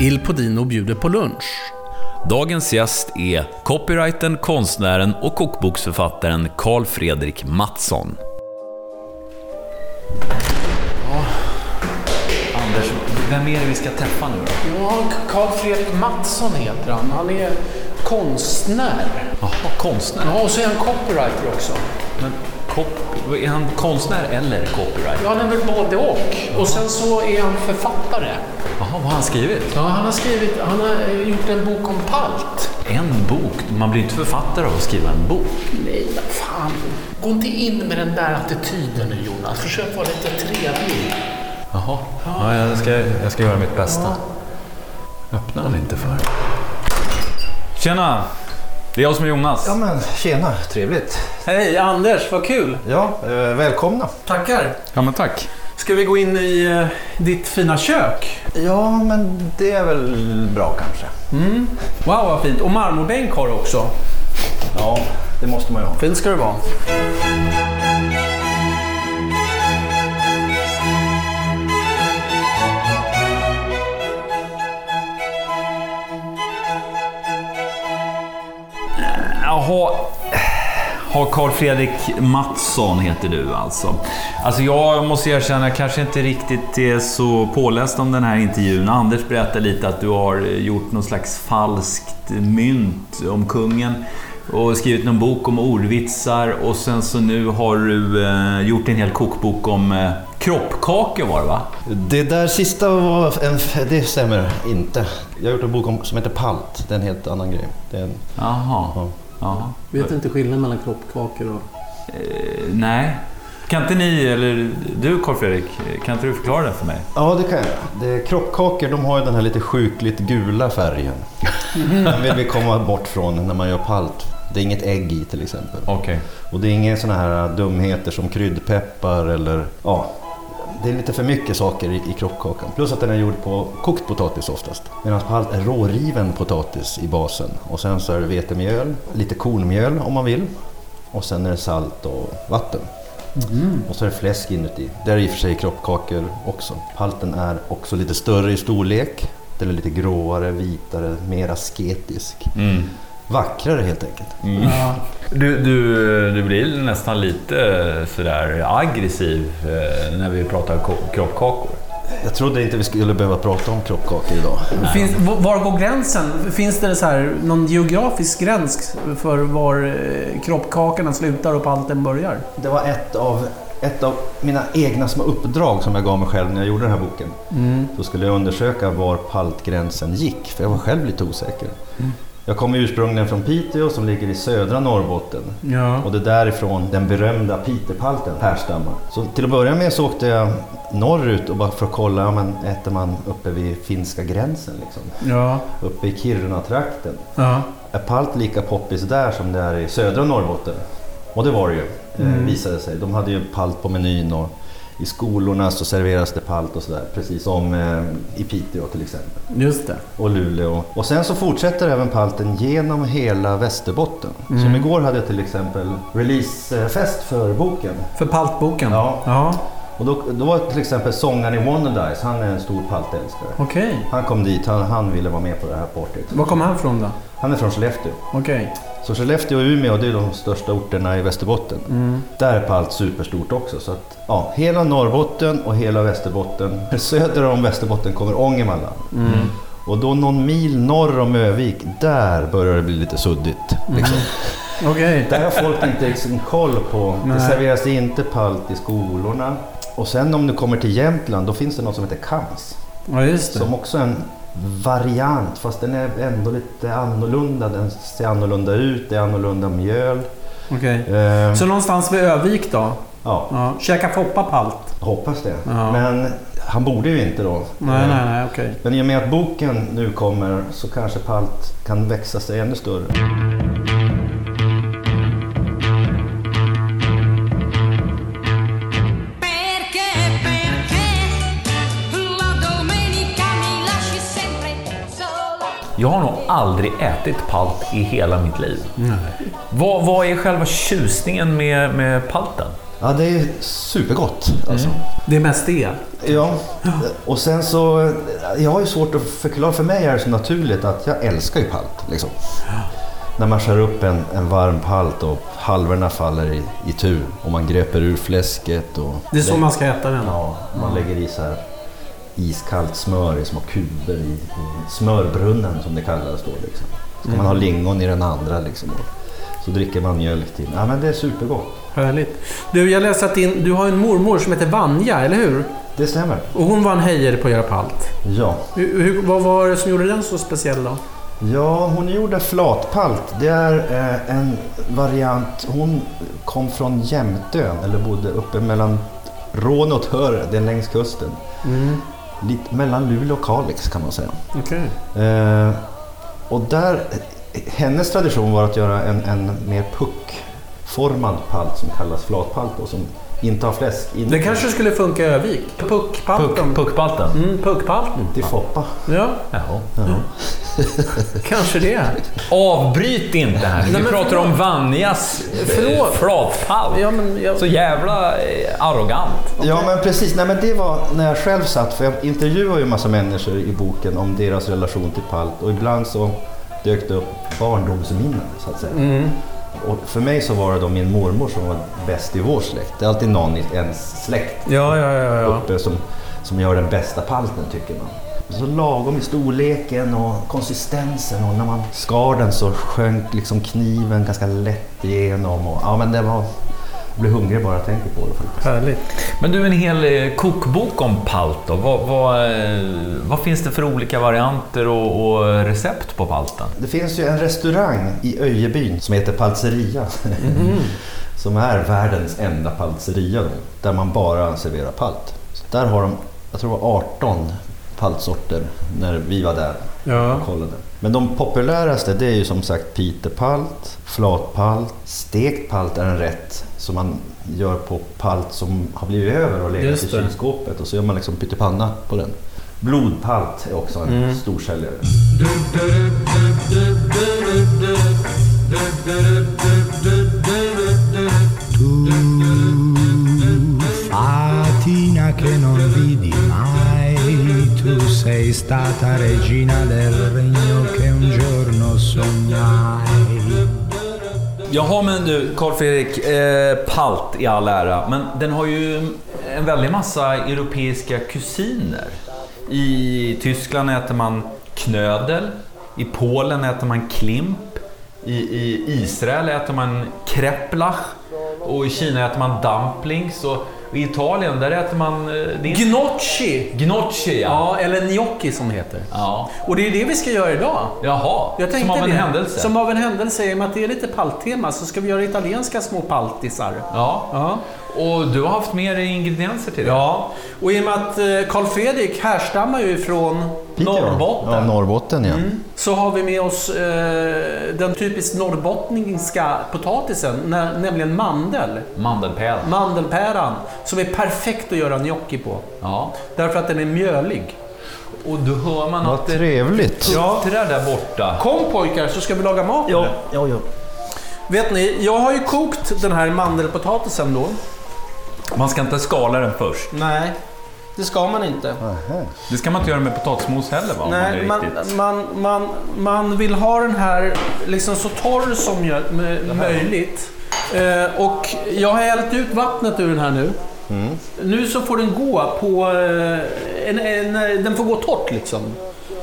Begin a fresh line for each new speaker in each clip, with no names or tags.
Il Podino bjuder på lunch.
Dagens gäst är copywritern, konstnären och kokboksförfattaren Karl Fredrik Mattsson. Anders, vem är det vi ska träffa nu då?
Ja, Karl Fredrik Mattsson heter han. Han är konstnär.
Jaha, konstnär.
Ja, och så är han copywriter också.
Men cop- är han konstnär eller copywriter?
Ja, han är väl både och. Och sen så är han författare.
Jaha, vad har han skrivit?
Ja, han har skrivit, han har eh, gjort en bok om palt.
En bok? Man blir inte författare av att skriva en bok.
Nej, vad fan. Gå inte in med den där attityden nu Jonas. Försök vara lite trevlig.
Jaha, ja, jag, ska, jag ska göra mitt bästa. Öppnar han inte för? Tjena! Det är jag som är Jonas.
Ja men tjena, trevligt.
Hej, Anders. Vad kul.
Ja, eh, välkomna.
Tackar.
Ja, men tack.
Ska vi gå in i eh, ditt fina kök?
Ja men det är väl bra kanske.
Wow, vad fint. Och marmorbänk har du också.
Ja, det måste man ju ha.
Fint ska det vara.
Jaha. Har Karl Fredrik Mattsson heter du alltså. Alltså jag måste erkänna, jag kanske inte riktigt är så påläst om den här intervjun. Anders berättade lite att du har gjort någon slags falskt mynt om kungen och skrivit någon bok om ordvitsar och sen så nu har du eh, gjort en hel kokbok om eh, kroppkakor var det va?
Det där sista var en, f- det stämmer inte. Jag har gjort en bok om, som heter Palt. Det är en helt annan grej. Det är en,
Jaha.
Ja.
Jaha.
Vet inte skillnaden mellan kroppkakor och...
Eh, nej. Kan inte ni, eller du Karl Fredrik, kan inte du förklara det för mig?
ja, det kan jag göra. Det är Kroppkakor de har ju den här lite sjukligt gula färgen. Den vill vi komma bort från när man gör Palt. Det är inget ägg i till exempel.
Okej.
Och det är inga sådana här äh, dumheter som kryddpeppar eller ja, det är lite för mycket saker i, i kroppkakan. Plus att den är gjord på kokt potatis oftast. Medan palt är råriven potatis i basen. Och sen så är det vetemjöl, lite kornmjöl om man vill. Och sen är det salt och vatten. Och så är det fläsk inuti. Det är i och för sig kroppkakor också. Palten är också lite större i storlek. Den är lite gråare, vitare, mer asketisk. Vackrare helt enkelt.
Mm. Du, du, du blir nästan lite eh, sådär aggressiv eh, när vi pratar ko- kroppkakor.
Jag trodde inte vi skulle behöva prata om kroppkakor idag.
Finns, var går gränsen? Finns det så här, någon geografisk gräns för var eh, kroppkakorna slutar och palten börjar?
Det var ett av, ett av mina egna små uppdrag som jag gav mig själv när jag gjorde den här boken. Då skulle jag undersöka var paltgränsen gick, för jag var själv lite osäker. Jag kommer ursprungligen från Piteå som ligger i södra Norrbotten.
Ja.
Och det är därifrån den berömda Pitepalten härstammar. Så till att börja med så åkte jag norrut och bara för att kolla, ja, men äter man uppe vid finska gränsen? Liksom.
Ja.
Uppe i Kiruna-trakten.
ja.
Är palt lika poppis där som det är i södra Norrbotten? Och det var det ju, eh, visade sig. De hade ju palt på menyn och i skolorna så serveras det palt och sådär. Precis som eh, i Piteå till exempel.
Just det.
Och Luleå. Och sen så fortsätter även palten genom hela Västerbotten. Som igår hade jag till exempel releasefest för boken.
För paltboken?
Ja.
ja.
Och då, då var till exempel sångaren i Wonderdice, han är en stor paltälskare.
Okej.
Han kom dit, han, han ville vara med på det här partyt.
Var kommer han ifrån då?
Han är från Skellefteå.
Okej.
Så Skellefteå och Umeå det är de största orterna i Västerbotten. Där är Palt superstort också. Så att, ja, hela Norrbotten och hela Västerbotten. Söder om Västerbotten kommer Ångermanland. Och då någon mil norr om Övik, där börjar det bli lite suddigt. Liksom.
Okej.
Där har folk inte liksom koll på. Det
Nej.
serveras inte palt i skolorna. Och sen om du kommer till Jämtland, då finns det något som heter kams.
Ja, just det.
Som också är en variant, fast den är ändå lite annorlunda. Den ser annorlunda ut, det är annorlunda mjöl.
Okej.
Ehm,
Så någonstans vid Övik då?
ja,
Ja. Käka Foppa palt?
hoppas det.
Ja.
Men han borde ju inte då.
Nej,
Ehm,
nej, nej. Okej.
Men i och med att boken nu kommer så kanske Palt kan växa sig ännu större.
Perché, perché la domenica mi lasci sempre sola?
Jag har nog aldrig ätit palt i hela mitt liv. Vad, vad är själva tjusningen med, med palten?
Ja, det är supergott
Mm.
alltså.
Det är mest det.
Ja, och sen så... Jag har ju svårt att förklara. För mig är det så naturligt att jag älskar ju palt. Liksom. När man skär upp en, en varm palt och halvorna faller i, i tur och man gröper ur fläsket och...
Det är så man ska äta den.
Ja, man lägger i så här iskallt smör i små kuber i, i smörbrunnen som det kallas då. Liksom. Ska man
Mm.
ha lingon i den andra liksom. och Så dricker man mjölk till. Ja, men det är supergott.
Härligt. Du, jag läste att din, du har en mormor som heter Vanja, eller hur?
Det stämmer.
Och hon var en hejare på att göra palt.
Ja.
Hur, hur, vad var det som gjorde den så speciell då?
Ja, hon gjorde flatpalt. Det är eh, en variant. Hon kom från Jämtön, eller bodde uppe mellan Råne och Töre, det är längs kusten.
Mm.
Lite mellan Luleå och Kalix kan man säga.
Okej.
Eh, och där, hennes tradition var att göra en, en mer puckformad palt som kallas flatpalt och som inte har fläsk inuti.
Det kanske skulle funka i Övik. Puckpalten.
Puck, puckpalten?
Mm, puckpalten.
Till Foppa.
Ja,
Jaha.
kanske det.
Avbryt inte här nu.
Nej,
Vi
men
pratar
förlåt.
om Vanjas eh,
Förlåt.
flatfall.
Ja, men jag...
Så jävla eh, arrogant.
Ja men precis, nej men det var när jag själv satt, för jag intervjuar ju en massa människor i boken om deras relation till palt och ibland så dök det upp barndomsminnen så att säga. Och för mig så var det då min mormor som var bäst i vår släkt. Det är alltid någon i ens släkt
Ja, ja, ja. ja.
uppe som, som gör den bästa palten tycker man. Så lagom i storleken och konsistensen och när man skar den så sjönk liksom kniven ganska lätt igenom. Och, ja, men det var, jag blir hungrig bara jag tänker på det faktiskt.
Härligt.
Men du, en hel eh, kokbok om palt då. Vad, vad, eh, vad finns det för olika varianter och, och recept på palten?
Det finns ju en restaurang i Öjebyn som heter Paltzeria.
Mhm.
som är världens enda paltzeria då, där man bara serverar palt. Så där har de, jag tror det var 18 paltsorter när vi var där
Ja.
och kollade. Men de populäraste det är ju som sagt pitepalt, flatpalt, stekt palt är en rätt som man gör på palt som har blivit över och legat
Just
i
det.
kylskåpet och så gör man liksom pyttipanna på den. Blodpalt är också en
Mm.
storsäljare.
Atina che non vidi mai, tu sei stata regina del regno che un giorno sognai.
Jaha, men du, Carl Fredrik. Eh, palt i all ära, men den har ju en väldig massa europeiska kusiner. I Tyskland äter man knödel, i Polen äter man klimp, i, i Israel äter man kreplach och i Kina äter man dumplings och i Italien där äter man... eh, Det är
Gnocchi!
gnocchi, ja.
Ja, eller gnocchi som det heter.
ja.
Och det är det vi ska göra idag.
Jaha,
Jag
som
tänkte
av en
det.
händelse.
Som av en händelse. I och med att det är lite palttema så ska vi göra italienska små paltisar.
Ja.
Ja.
Och du har haft med dig ingredienser till det?
Ja, och i och med att eh, Carl Fredrik härstammar ju från
Piteå.
Norrbotten
Ja, Norrbotten ja.
Mm.
så har vi med oss eh, den typiskt norrbottniska potatisen, nä- nämligen mandel.
Mandelpäl.
Mandelpäran, som är perfekt att göra gnocchi på.
Ja.
Därför att den är mjölig.
Och då hör man
Vad
att det
trevligt.
puttrar där borta.
Kom pojkar så ska vi laga mat nu.
ja, ja.
Vet ni, jag har ju kokt den här mandelpotatisen då.
Man ska inte skala den först.
Nej, det ska man inte.
Aha.
Det ska man inte göra med potatismos heller va? Om
Nej,
man är
man,
riktigt-
man, man, man vill ha den här liksom så torr som gör, m- möjligt. Eh, och jag har hällt ut vattnet ur den här nu. Nu så får den gå på... eh, En, en, den får gå torrt liksom.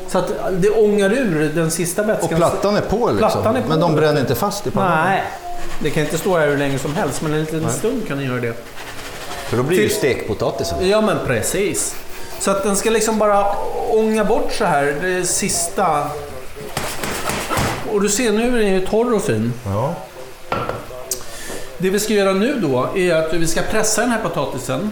Så att det ångar ur den sista
Och
vätskan.
plattan är på liksom.
Plattan är på.
Men de bränner inte fast i pannan.
Nej, det kan inte stå här hur länge som helst men en liten stund kan den göra det.
För då blir det ju stekpotatisen.
Ja men precis. Så att den ska liksom bara ånga bort så här det sista. Och du ser nu är den ju torr och fin.
Ja.
Det vi ska göra nu då är att vi ska pressa den här potatisen.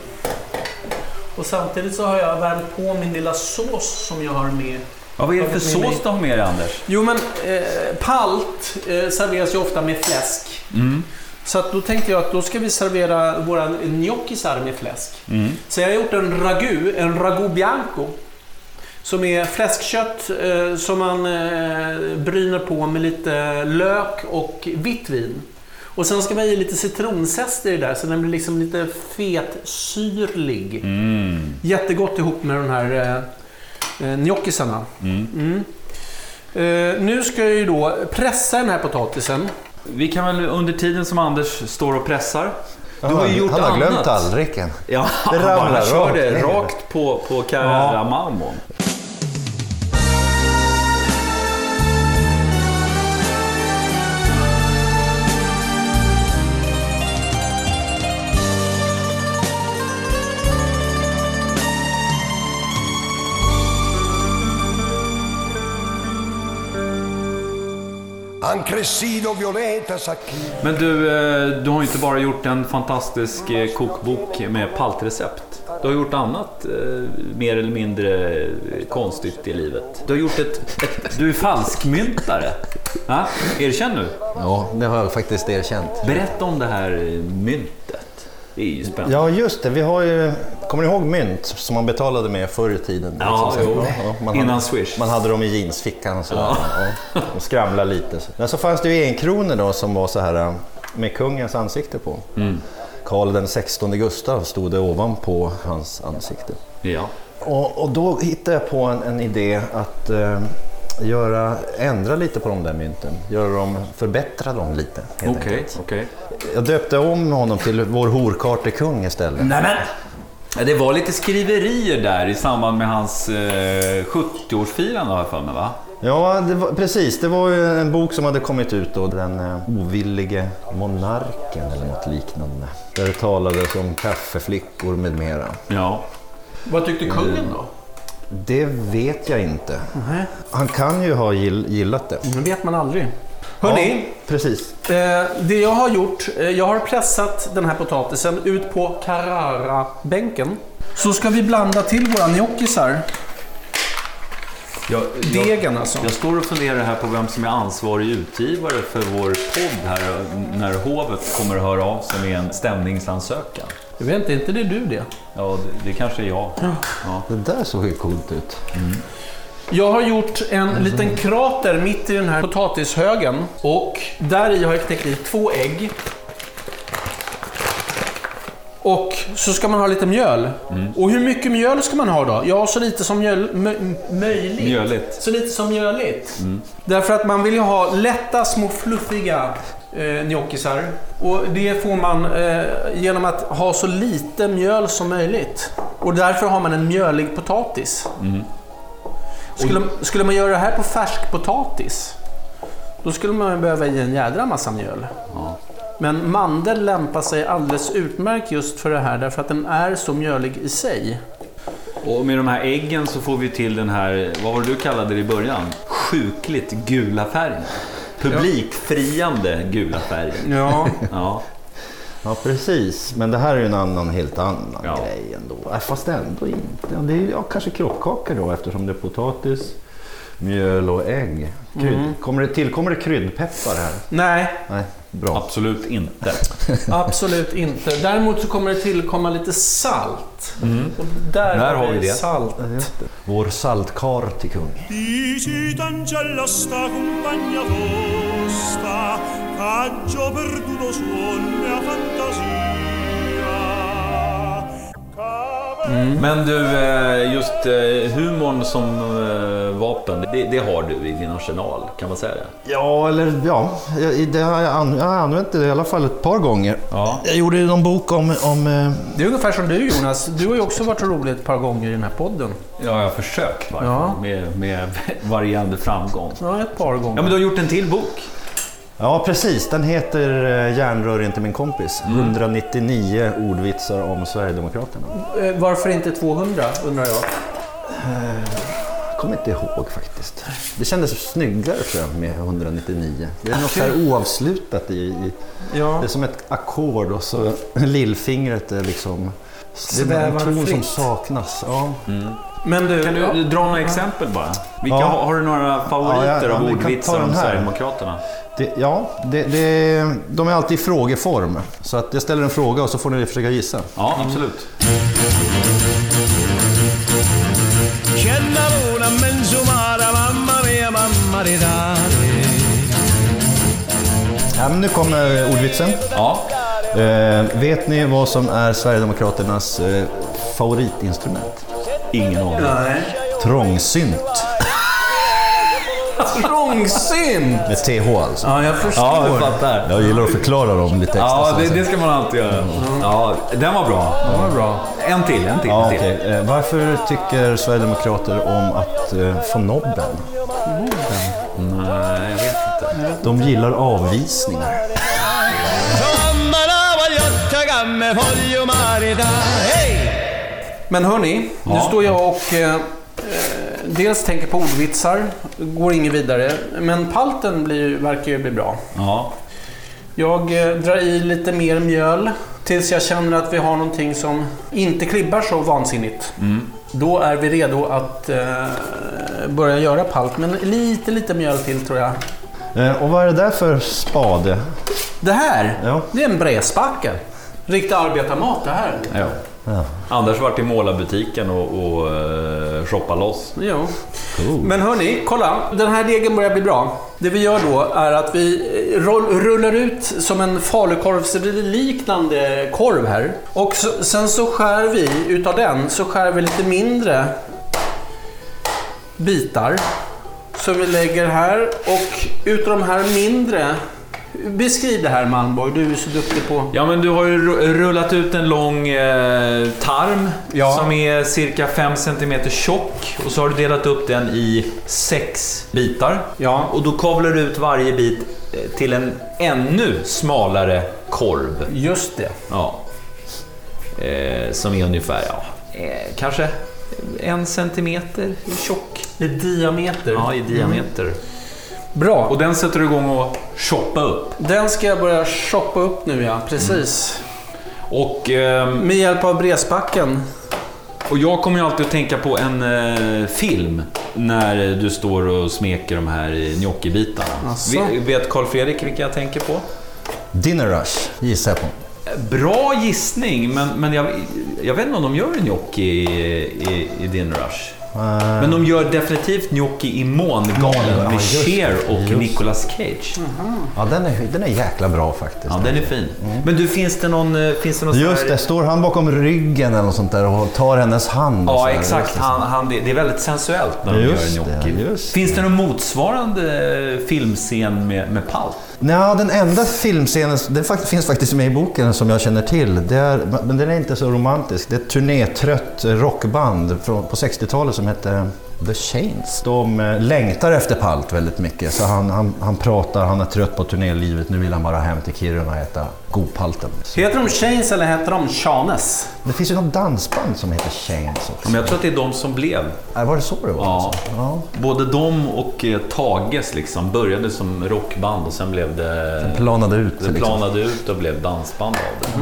Och samtidigt så har jag värmt på min lilla sås som jag har med.
Ja, vad är det för
Tagit med
sås
mig.
du har med dig Anders?
Jo men eh, palt eh, serveras ju ofta med fläsk. Så att då tänkte jag att då ska vi servera våra gnocchisar med fläsk. Så jag har gjort en ragu, en ragu bianco. Som är fläskkött eh, som man eh, bryner på med lite lök och vitt vin. Och sen ska vi ha i lite citronzest i det där så den blir liksom lite fetsyrlig. Jättegott ihop med de här eh, eh, gnocchisarna. Mm. Eh, nu ska jag ju då pressa den här potatisen.
Vi kan väl under tiden som Anders står och pressar. Du
Han
har ju gjort
han har
annat.
glömt tallriken.
Ja,
Det
det
ramlar
bara kör
rakt
det
ner.
rakt på, på Karamalmon.
Anche Sido Violeta Sacchini.
Men du, eh, du har ju inte bara gjort en fantastisk eh, kokbok med paltrecept. Du har gjort annat eh, mer eller mindre eh, konstigt i livet. Du har gjort ett... ett du är falskmyntare. Va? Erkänn nu.
Ja, det har jag faktiskt erkänt.
Berätta om det här eh, myntet. Det är ju spännande.
Ja, just det. Vi har ju, kommer ni ihåg mynt som man betalade med förr i tiden?
Ja,
Liksom så-
jo.
man
Innan
hade,
Swish.
Man hade dem i jeansfickan och sådär. Ja. Och skramlade lite. så. Men så fanns det ju en krona då som var så här eh, med kungens ansikte på.
Mm.
Karl den 16 Gustav stod det ovanpå hans ansikte.
Ja.
Och, och då hittade jag på en, en idé att eh, göra, ändra lite på de där mynten. Göra dem, förbättra dem lite. helt
Okej,
enkelt.
okej.
Jag döpte om honom till vår horkarte kung istället.
Nämen! Det var lite skriverier där i samband med hans eh, 70-årsfirande har jag för mig va?
Ja, det var, precis. Det var ju en bok som hade kommit ut då, Den eh, ovillige monarken eller något liknande. Där det talades om kaffeflickor med mera.
Ja.
Vad tyckte kungen då?
Det vet jag inte.
Nej,
Han kan ju ha gill, gillat det.
det vet man aldrig. Hörni,
Ja, precis.
Eh, det jag har gjort, eh, jag har pressat den här potatisen ut på Carrara-bänken. Så ska vi blanda till våra gnocchisar.
Jag, jag,
Degen alltså.
jag står och funderar här på vem som är ansvarig utgivare för vår podd här när hovet kommer att höra av sig med en stämningsansökan.
Jag vet inte, inte det är du det?
Ja, det, det kanske är jag. Ja.
Det där såg ju coolt ut.
Jag har gjort en liten krater mitt i den här potatishögen. Och där i har jag knäckt i två ägg. Och så ska man ha lite mjöl. Och hur mycket mjöl ska man ha då? Ja, så lite som mjöl, mö, möjligt.
Mjöligt.
Så lite som mjöligt. Därför att man vill ju ha lätta, små fluffiga eh, gnocchisar. Och det får man eh, genom att ha så lite mjöl som möjligt. Och därför har man en mjölig potatis. Skulle, skulle man göra det här på färsk potatis, då skulle man behöva i en jädra massa mjöl. Men mandel lämpar sig alldeles utmärkt just för det här därför att den är så mjölig i sig.
Och med de här äggen så får vi till den här, vad var det du kallade det i början? Sjukligt gula färgen. Publikfriande gula färgen.
Ja.
Ja.
Ja, precis. Men det här är ju en annan, helt annan
Ja.
grej ändå. Äh, Fast ändå inte. Ja, Det är ju ja, kanske kroppkakor då eftersom det är potatis, mjöl och ägg. Krydd.
Mm.
Kommer det tillkommer det kryddpeppar här?
Nej,
Nej, bra.
Absolut inte.
absolut inte. Däremot så kommer det tillkomma lite salt. Och där,
Mm. Där har vi det.
salt.
Vår saltkar till kung.
Visita ancella sta compagna vostra, caggio perduto suonne a fantasia. Cava-
Mm. Men du, eh, just eh, humorn som eh, vapen, det, det har du i din arsenal, kan man säga det?
Ja, eller ja, jag, det har jag, an, jag har använt det i alla fall ett par gånger.
Ja.
Jag gjorde ju någon bok om, om eh,
Det är ungefär som du Jonas. Du har ju också varit rolig ett par gånger i den här podden.
Ja, jag har försökt varje
Ja.
gång med, med varierande framgång.
Ja, ett par gånger.
Ja, men du har gjort en till bok.
Ja, precis. Den heter eh, Järnrör inte min kompis.
Mm.
199 ordvitsar om Sverigedemokraterna.
Eh, Varför inte 200 undrar jag.
kommer inte ihåg faktiskt. Det kändes snyggare tror jag med 199. Det är något så här oavslutat i... i
Ja.
Det är som ett ackord och så lillfingret är liksom... det är
Svävar
en ton som
fritt.
saknas. Ja.
Men du,
Kan du
ja.
dra några exempel bara? Vilka,
Ja.
Har du några favoriter
Ja, ja, ja,
av
vi kan ta
ordvitsar
den
om
här.
Sverigedemokraterna?
Det, ja det, det, de är alltid i frågeform. Så att jag ställer en fråga och så får ni försöka gissa.
Ja, absolut.
Cennarona menzumara, mamma mia, mamma di dare.
Ja, men nu kommer ordvitsen.
Ja.
Eh, vet ni vad som är Sverigedemokraternas eh, favoritinstrument?
Ingen aning.
Trångsynt.
Trångsynt!
Med TH alltså.
Ja, jag förstår.
Ja, jag fattar.
Jag gillar att förklara dem lite extra.
Ja,
sen.
det, det ska man alltid göra. Ja, den var bra. Den var bra. En till, en till.
Ja,
en till.
okej. Eh, Varför tycker Sverigedemokrater om att eh, få nobben?
Mm, Nej, jag vet inte.
De gillar avvisningar.
Men hörni, nu står jag och eh, eh, dels tänker på ordvitsar, går inget vidare. Men palten blir, verkar ju bli bra.
Ja.
Jag eh, drar i lite mer mjöl tills jag känner att vi har någonting som inte klibbar så vansinnigt.
Mm.
Då är vi redo att eh, börja göra palt, men lite, lite mjöl till tror jag.
Eh, Och vad är det där för spade?
Det här,
Ja.
det är en brädspackel. Riktig arbetarmat det här.
Ja. Anders vart i målarbutiken och, och eh, shoppade loss.
Jo. Men hörni, kolla. Den här degen börjar bli bra. Det vi gör då är att vi eh, roll, rullar ut som en falukorvsliknande korv här. Och så, sen så skär vi utav den, så skär vi lite mindre bitar. Som vi lägger här och utav de här mindre Beskriv det här Malmborg, du är så duktig på...
Ja, men du har ju ru- rullat ut en lång eh, tarm
Ja.
som är cirka 5 cm tjock och så har du delat upp den i sex bitar.
Ja.
Och då kavlar du ut varje bit eh, till en ännu smalare korv.
Just det.
Ja. Eh, som är ungefär, ja, eh, kanske en centimeter tjock.
I diameter. Mm.
Ja, i diameter.
Bra.
Och den sätter du igång och choppa upp.
Den ska jag börja shoppa upp nu ja, precis.
Och, ehm,
Med hjälp av brespacken.
och jag kommer ju alltid att tänka på en eh, film när du står och smeker de här eh, gnocchibitarna.
Asså.
Ve- Vet Carl Fredrik vilka jag tänker på?
Dinner rush, gissar jag på.
Bra gissning, men, men jag, jag vet inte om de gör en gnocchi i, i, i din rush. Men de gör definitivt gnocchi i Mångalen
Ja,
med
just det.
Cher och
Just. Mm,
Nicolas Cage.
Ja, den är, den är jäkla bra faktiskt.
Ja, den är fin. Men du, finns det någon... eh, Finns det någon sån
Mm. Just
här-
det, står han bakom ryggen eller något sånt där och tar hennes hand? och så
Ja,
här.
exakt. Han, han, det det är väldigt sensuellt när de
Just
gör
det,
gnocchi.
just
Finns det någon motsvarande eh, filmscen med, med palt?
Nej, den enda filmscenen, den fakt- finns faktiskt med i boken som jag känner till. Det är, men den är inte så romantisk. Det är ett turnétrött rockband från, på 60-talet som hette The Chains. De eh, längtar efter Palt väldigt mycket. Så han, han, han pratar, han är trött på turnélivet. Nu vill han bara hem till Kiruna och äta godpalten. Så-
Heter de Chains eller heter de Chanes?
Det finns ju något dansband som heter Chains också.
Men jag tror att det är de som blev.
Äh, Var det så det var?
Ja.
alltså? ja.
Både de och eh, Tages liksom började som rockband och sen blev det...
Planade ut.
Det
liksom.
planade ut och blev dansband av det.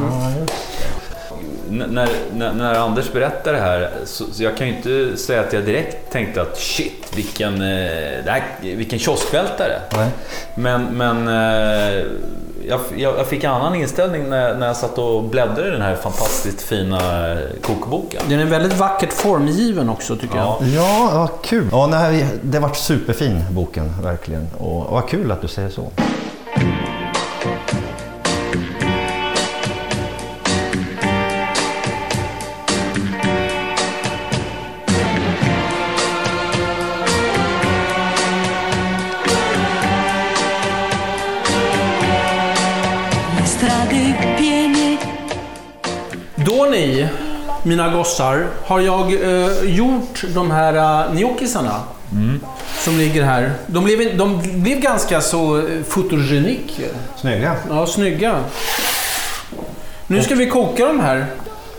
N- När, när, när Anders berättar det här, så, så jag kan ju inte säga att jag direkt tänkte att shit, vilken, eh, det här, vilken kioskvältare.
Nej.
Men, men eh, jag, jag, jag fick en annan inställning när, jag- när jag satt och bläddrade i den här fantastiskt fina eh, kokboken.
Den är väldigt vackert formgiven också tycker
Ja.
Ja, vad kul. Ja, nej, vi- det vart superfin boken, verkligen. Och vad kul att du säger så.
jag. Då ni, mina gossar, har jag eh, gjort de här eh, gnocchisarna. Som ligger här. De blev, de blev ganska så eh, fotogenik.
Snygga.
Ja, snygga. Nu ska vi koka de här.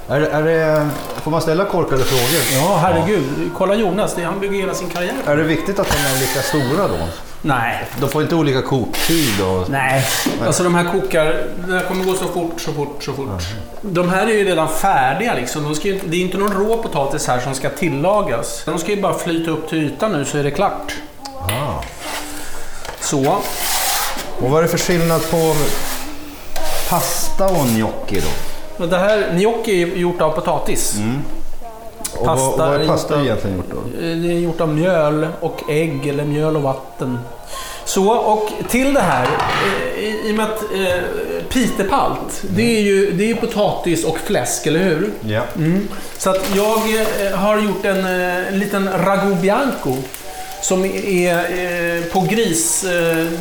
Är, är det, får man ställa korkade frågor?
Ja, herregud. Kolla Jonas, det, han bygger hela sin karriär.
Är det viktigt att de är lika stora då?
Nej,
De får inte olika koktid och...
Nej. Alltså de här kokar, det här kommer gå så fort, så fort, så fort. De här är ju redan färdiga liksom. De ska ju, inte- det är inte någon rå potatis här som ska tillagas. De ska ju bara flyta upp till ytan nu så är det klart. Så.
Och vad är det för skillnad på pasta och gnocchi då?
Men det här, gnocchi är gjort av potatis.
Och vad-
Pasta
vad är
är
pasta
inte- Mm,
egentligen gjort då?
Eh, Det är gjort av mjöl och ägg eller mjöl och vatten. Så, och till det här, eh, i, i och med att eh, pitepalt, det är ju det är ju potatis och fläsk, eller hur?
Ja.
Så att jag eh, har gjort en, eh, en liten ragu bianco som är eh, på gris, eh,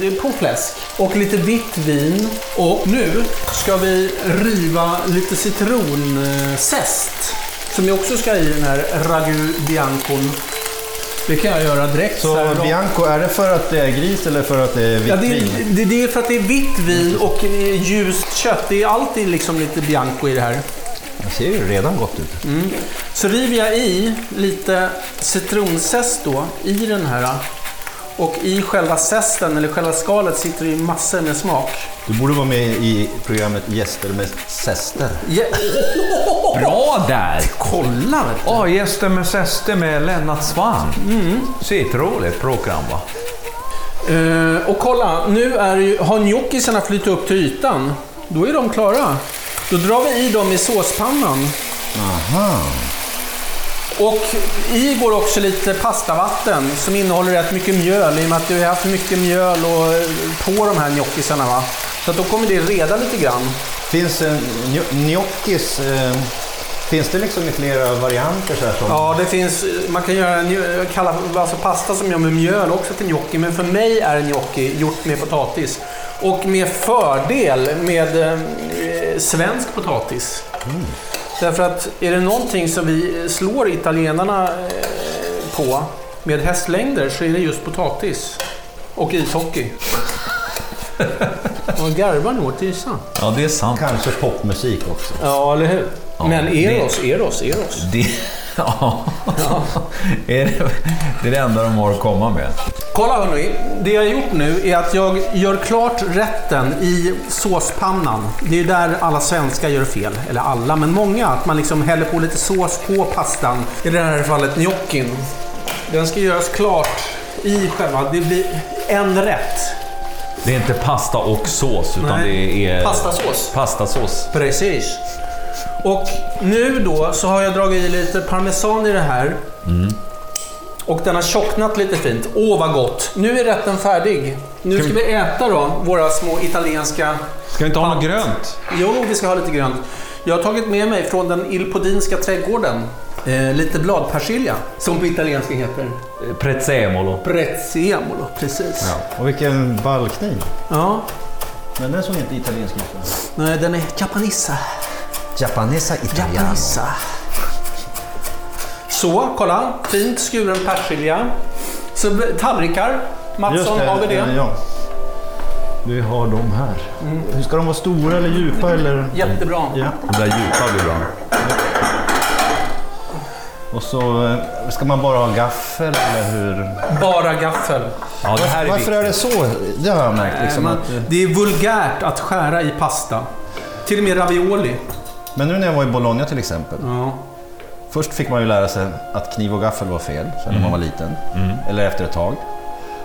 det är på fläsk och lite vitt vin. Och nu ska vi riva lite citronzest som jag också ska i den här ragu biancon. Det kan jag göra direkt. så här
Så
rakt.
Bianco, är det för att det är gris eller för att det är vitt
Ja, det, är-
vin?
det, det är för att det är vitt vin och eh, ljust kött. Det är alltid liksom lite bianco i det här.
Det ser ju redan gott ut.
Mm. Så river jag i lite citronzest då i den här. Och i själva zesten, eller själva skalet, sitter det ju massor med smak.
Du borde vara med i programmet Gäster med zester.
Bra där!
Kolla! vet du.
Ja, Gäster med Sester med Lennart Svan. Mm. Sitt roligt program va?
Eh, och kolla, nu är ju, har gnocchisarna flyttat upp till ytan. Då är de klara. Då drar vi i dem i såspannan. Och i går också lite pastavatten som innehåller rätt mycket mjöl i och med att du har haft mycket mjöl och, eh, på de här gnocchisarna. Va? Så att då kommer det reda lite grann.
Finns en gno- gnocchis, eh, finns det liksom i flera varianter? Så här som,
Ja, det finns, man kan göra en, kalla, alltså pasta som gör med mjöl också till gnocchi, men för mig är gnocchi gjort med potatis. Och med fördel med eh, svensk potatis. Därför att är det någonting som vi slår italienarna eh, på med hästlängder så är det just potatis. Och ishockey. Man garvar nog åt isa.
Ja, det är sant.
Kanske popmusik också.
Ja, eller hur? men Eros, Eros, Eros.
Det, ja. Är det, det är det enda de har att komma med.
Kolla hörni, det jag har gjort nu är att jag gör klart rätten i såspannan. Det är där alla svenskar gör fel, eller alla, men många. Att man liksom häller på lite sås på pastan. I det här fallet gnocchin. Den ska göras klart i själva, det blir en rätt.
Det är inte pasta och sås utan
Nej,
det är
pastasås.
pastasås.
Precis. Och nu då så har jag dragit i lite parmesan i det här. Och den har tjocknat lite fint. Åh vad gott! Nu är rätten färdig. Nu ska vi äta då våra små italienska...
Ska vi inte ha något grönt?
Jo, vi ska ha lite grönt. Jag har tagit med mig från den Ilpodinska trädgården eh, lite bladpersilja. Som på italienska heter
Prezzemolo.
prezzemolo. Precis. Ja.
Och vilken ballkniv.
ja.
Men den såg inte italiensk ut.
Nej, den är japanissa.
Japanesa italiano.
Japanissa. Så, kolla. Fint skuren persilja. Så b- tallrikar. Mattsson, Alltså, har vi det?
eh, Ja. Vi har de här. Hur ska de vara stora eller djupa? Eller?
Mm. Jättebra.
Ja.
Det där djupa blir bra.
Och så eh, ska man bara ha gaffel eller hur?
Bara gaffel.
Ja, det här är
Varför
viktigt.
är det så? Det har jag märkt. Liksom,
Men
att,
Det är vulgärt att skära i pasta. Till och med ravioli.
men nu när jag var i Bologna till exempel.
Ja.
Först fick man ju lära sig att kniv och gaffel var fel sen när man var liten. Eller efter ett tag.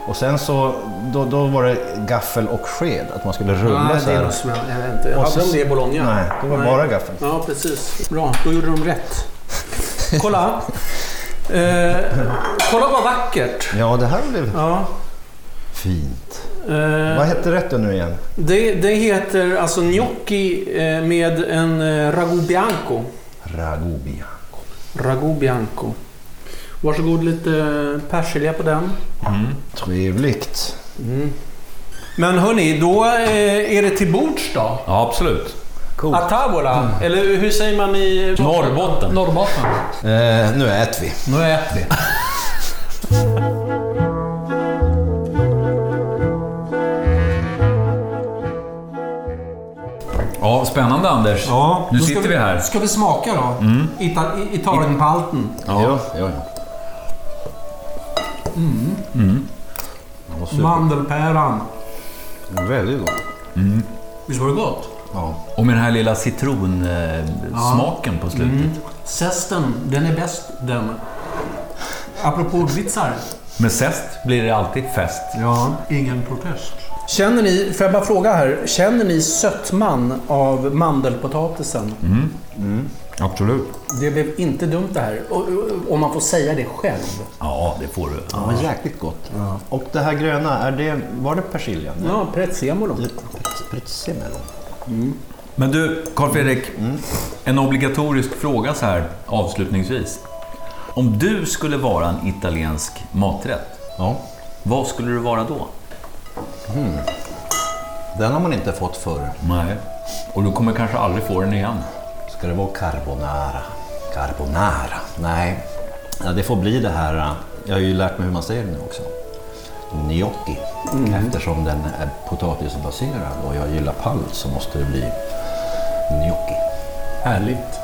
Och sen så då, då var det gaffel och sked, att man skulle rulla
Nej,
så
Ah, det är
här.
nog som jag, jag vet inte.
Och
Hade
så-
de det i Bologna?
Nej, det var bara gaffel.
Ja, precis. Bra, då gjorde de rätt. Kolla. Eh, kolla vad vackert.
Ja, det här blev
Ja.
fint.
Eh,
Vad hette rätten nu igen?
Det, det heter alltså gnocchi eh, med en eh, ragu bianco.
Ragobia.
Ragu bianco. Varsågod lite persilja på den.
Trevligt.
Men hörni, då eh, är det till bords då?
Ja, absolut.
A tavola,
Mm.
eller hur säger man i...
Norrbotten.
Norrbotten.
Eh, nu äter vi.
Nu äter vi.
Ja, spännande Anders. nu
Då ska
sitter vi här. Mm.
Ska vi smaka då? Ita, i- Italienpalten.
Ja, ja, ja. Mm. Mm.
Mandelpäran.
Väldigt gott.
Visst var det gott?
Ja.
Och med den här lilla citronsmaken smaken på slutet.
Zesten, den är bäst den. Apropå vitsar.
Med zest blir det alltid fest.
Ja, ingen protest. Känner ni, får jag
Mm.
bara fråga här, känner ni sötman av mandelpotatisen?
Absolut.
Det blev inte dumt det här. Och- och- Om man får säga det själv.
Ja, det får du.
Det var jäkligt gott. Och det här gröna, är det, var det persilja?
Ja, prezzemolo.
Prezzemolo.
Men du, Carl Fredrik. En obligatorisk fråga så här avslutningsvis. Om du skulle vara en italiensk maträtt,
Ja.
vad skulle du vara då?
Den har man inte fått förr.
Nej. Och du kommer kanske aldrig få den igen.
Ska det vara carbonara? Carbonara? Nej, ja, det får bli det här. eh, Jag har ju lärt mig hur man säger det nu också. Gnocchi. Mm. Eftersom den är potatisbaserad och jag gillar pall så måste det bli gnocchi.
Härligt.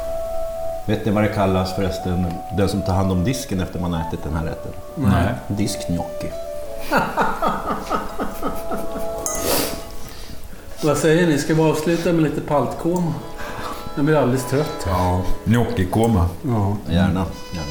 Vet ni vad det kallas förresten, den som tar hand om disken efter man har ätit den här rätten?
Nej.
Diskgnocchi.
Vad säger ni? Ska vi avsluta med lite paltkoma? Jag blir alldeles trött.
Ja, gnocchikoma.
Gärna. gärna.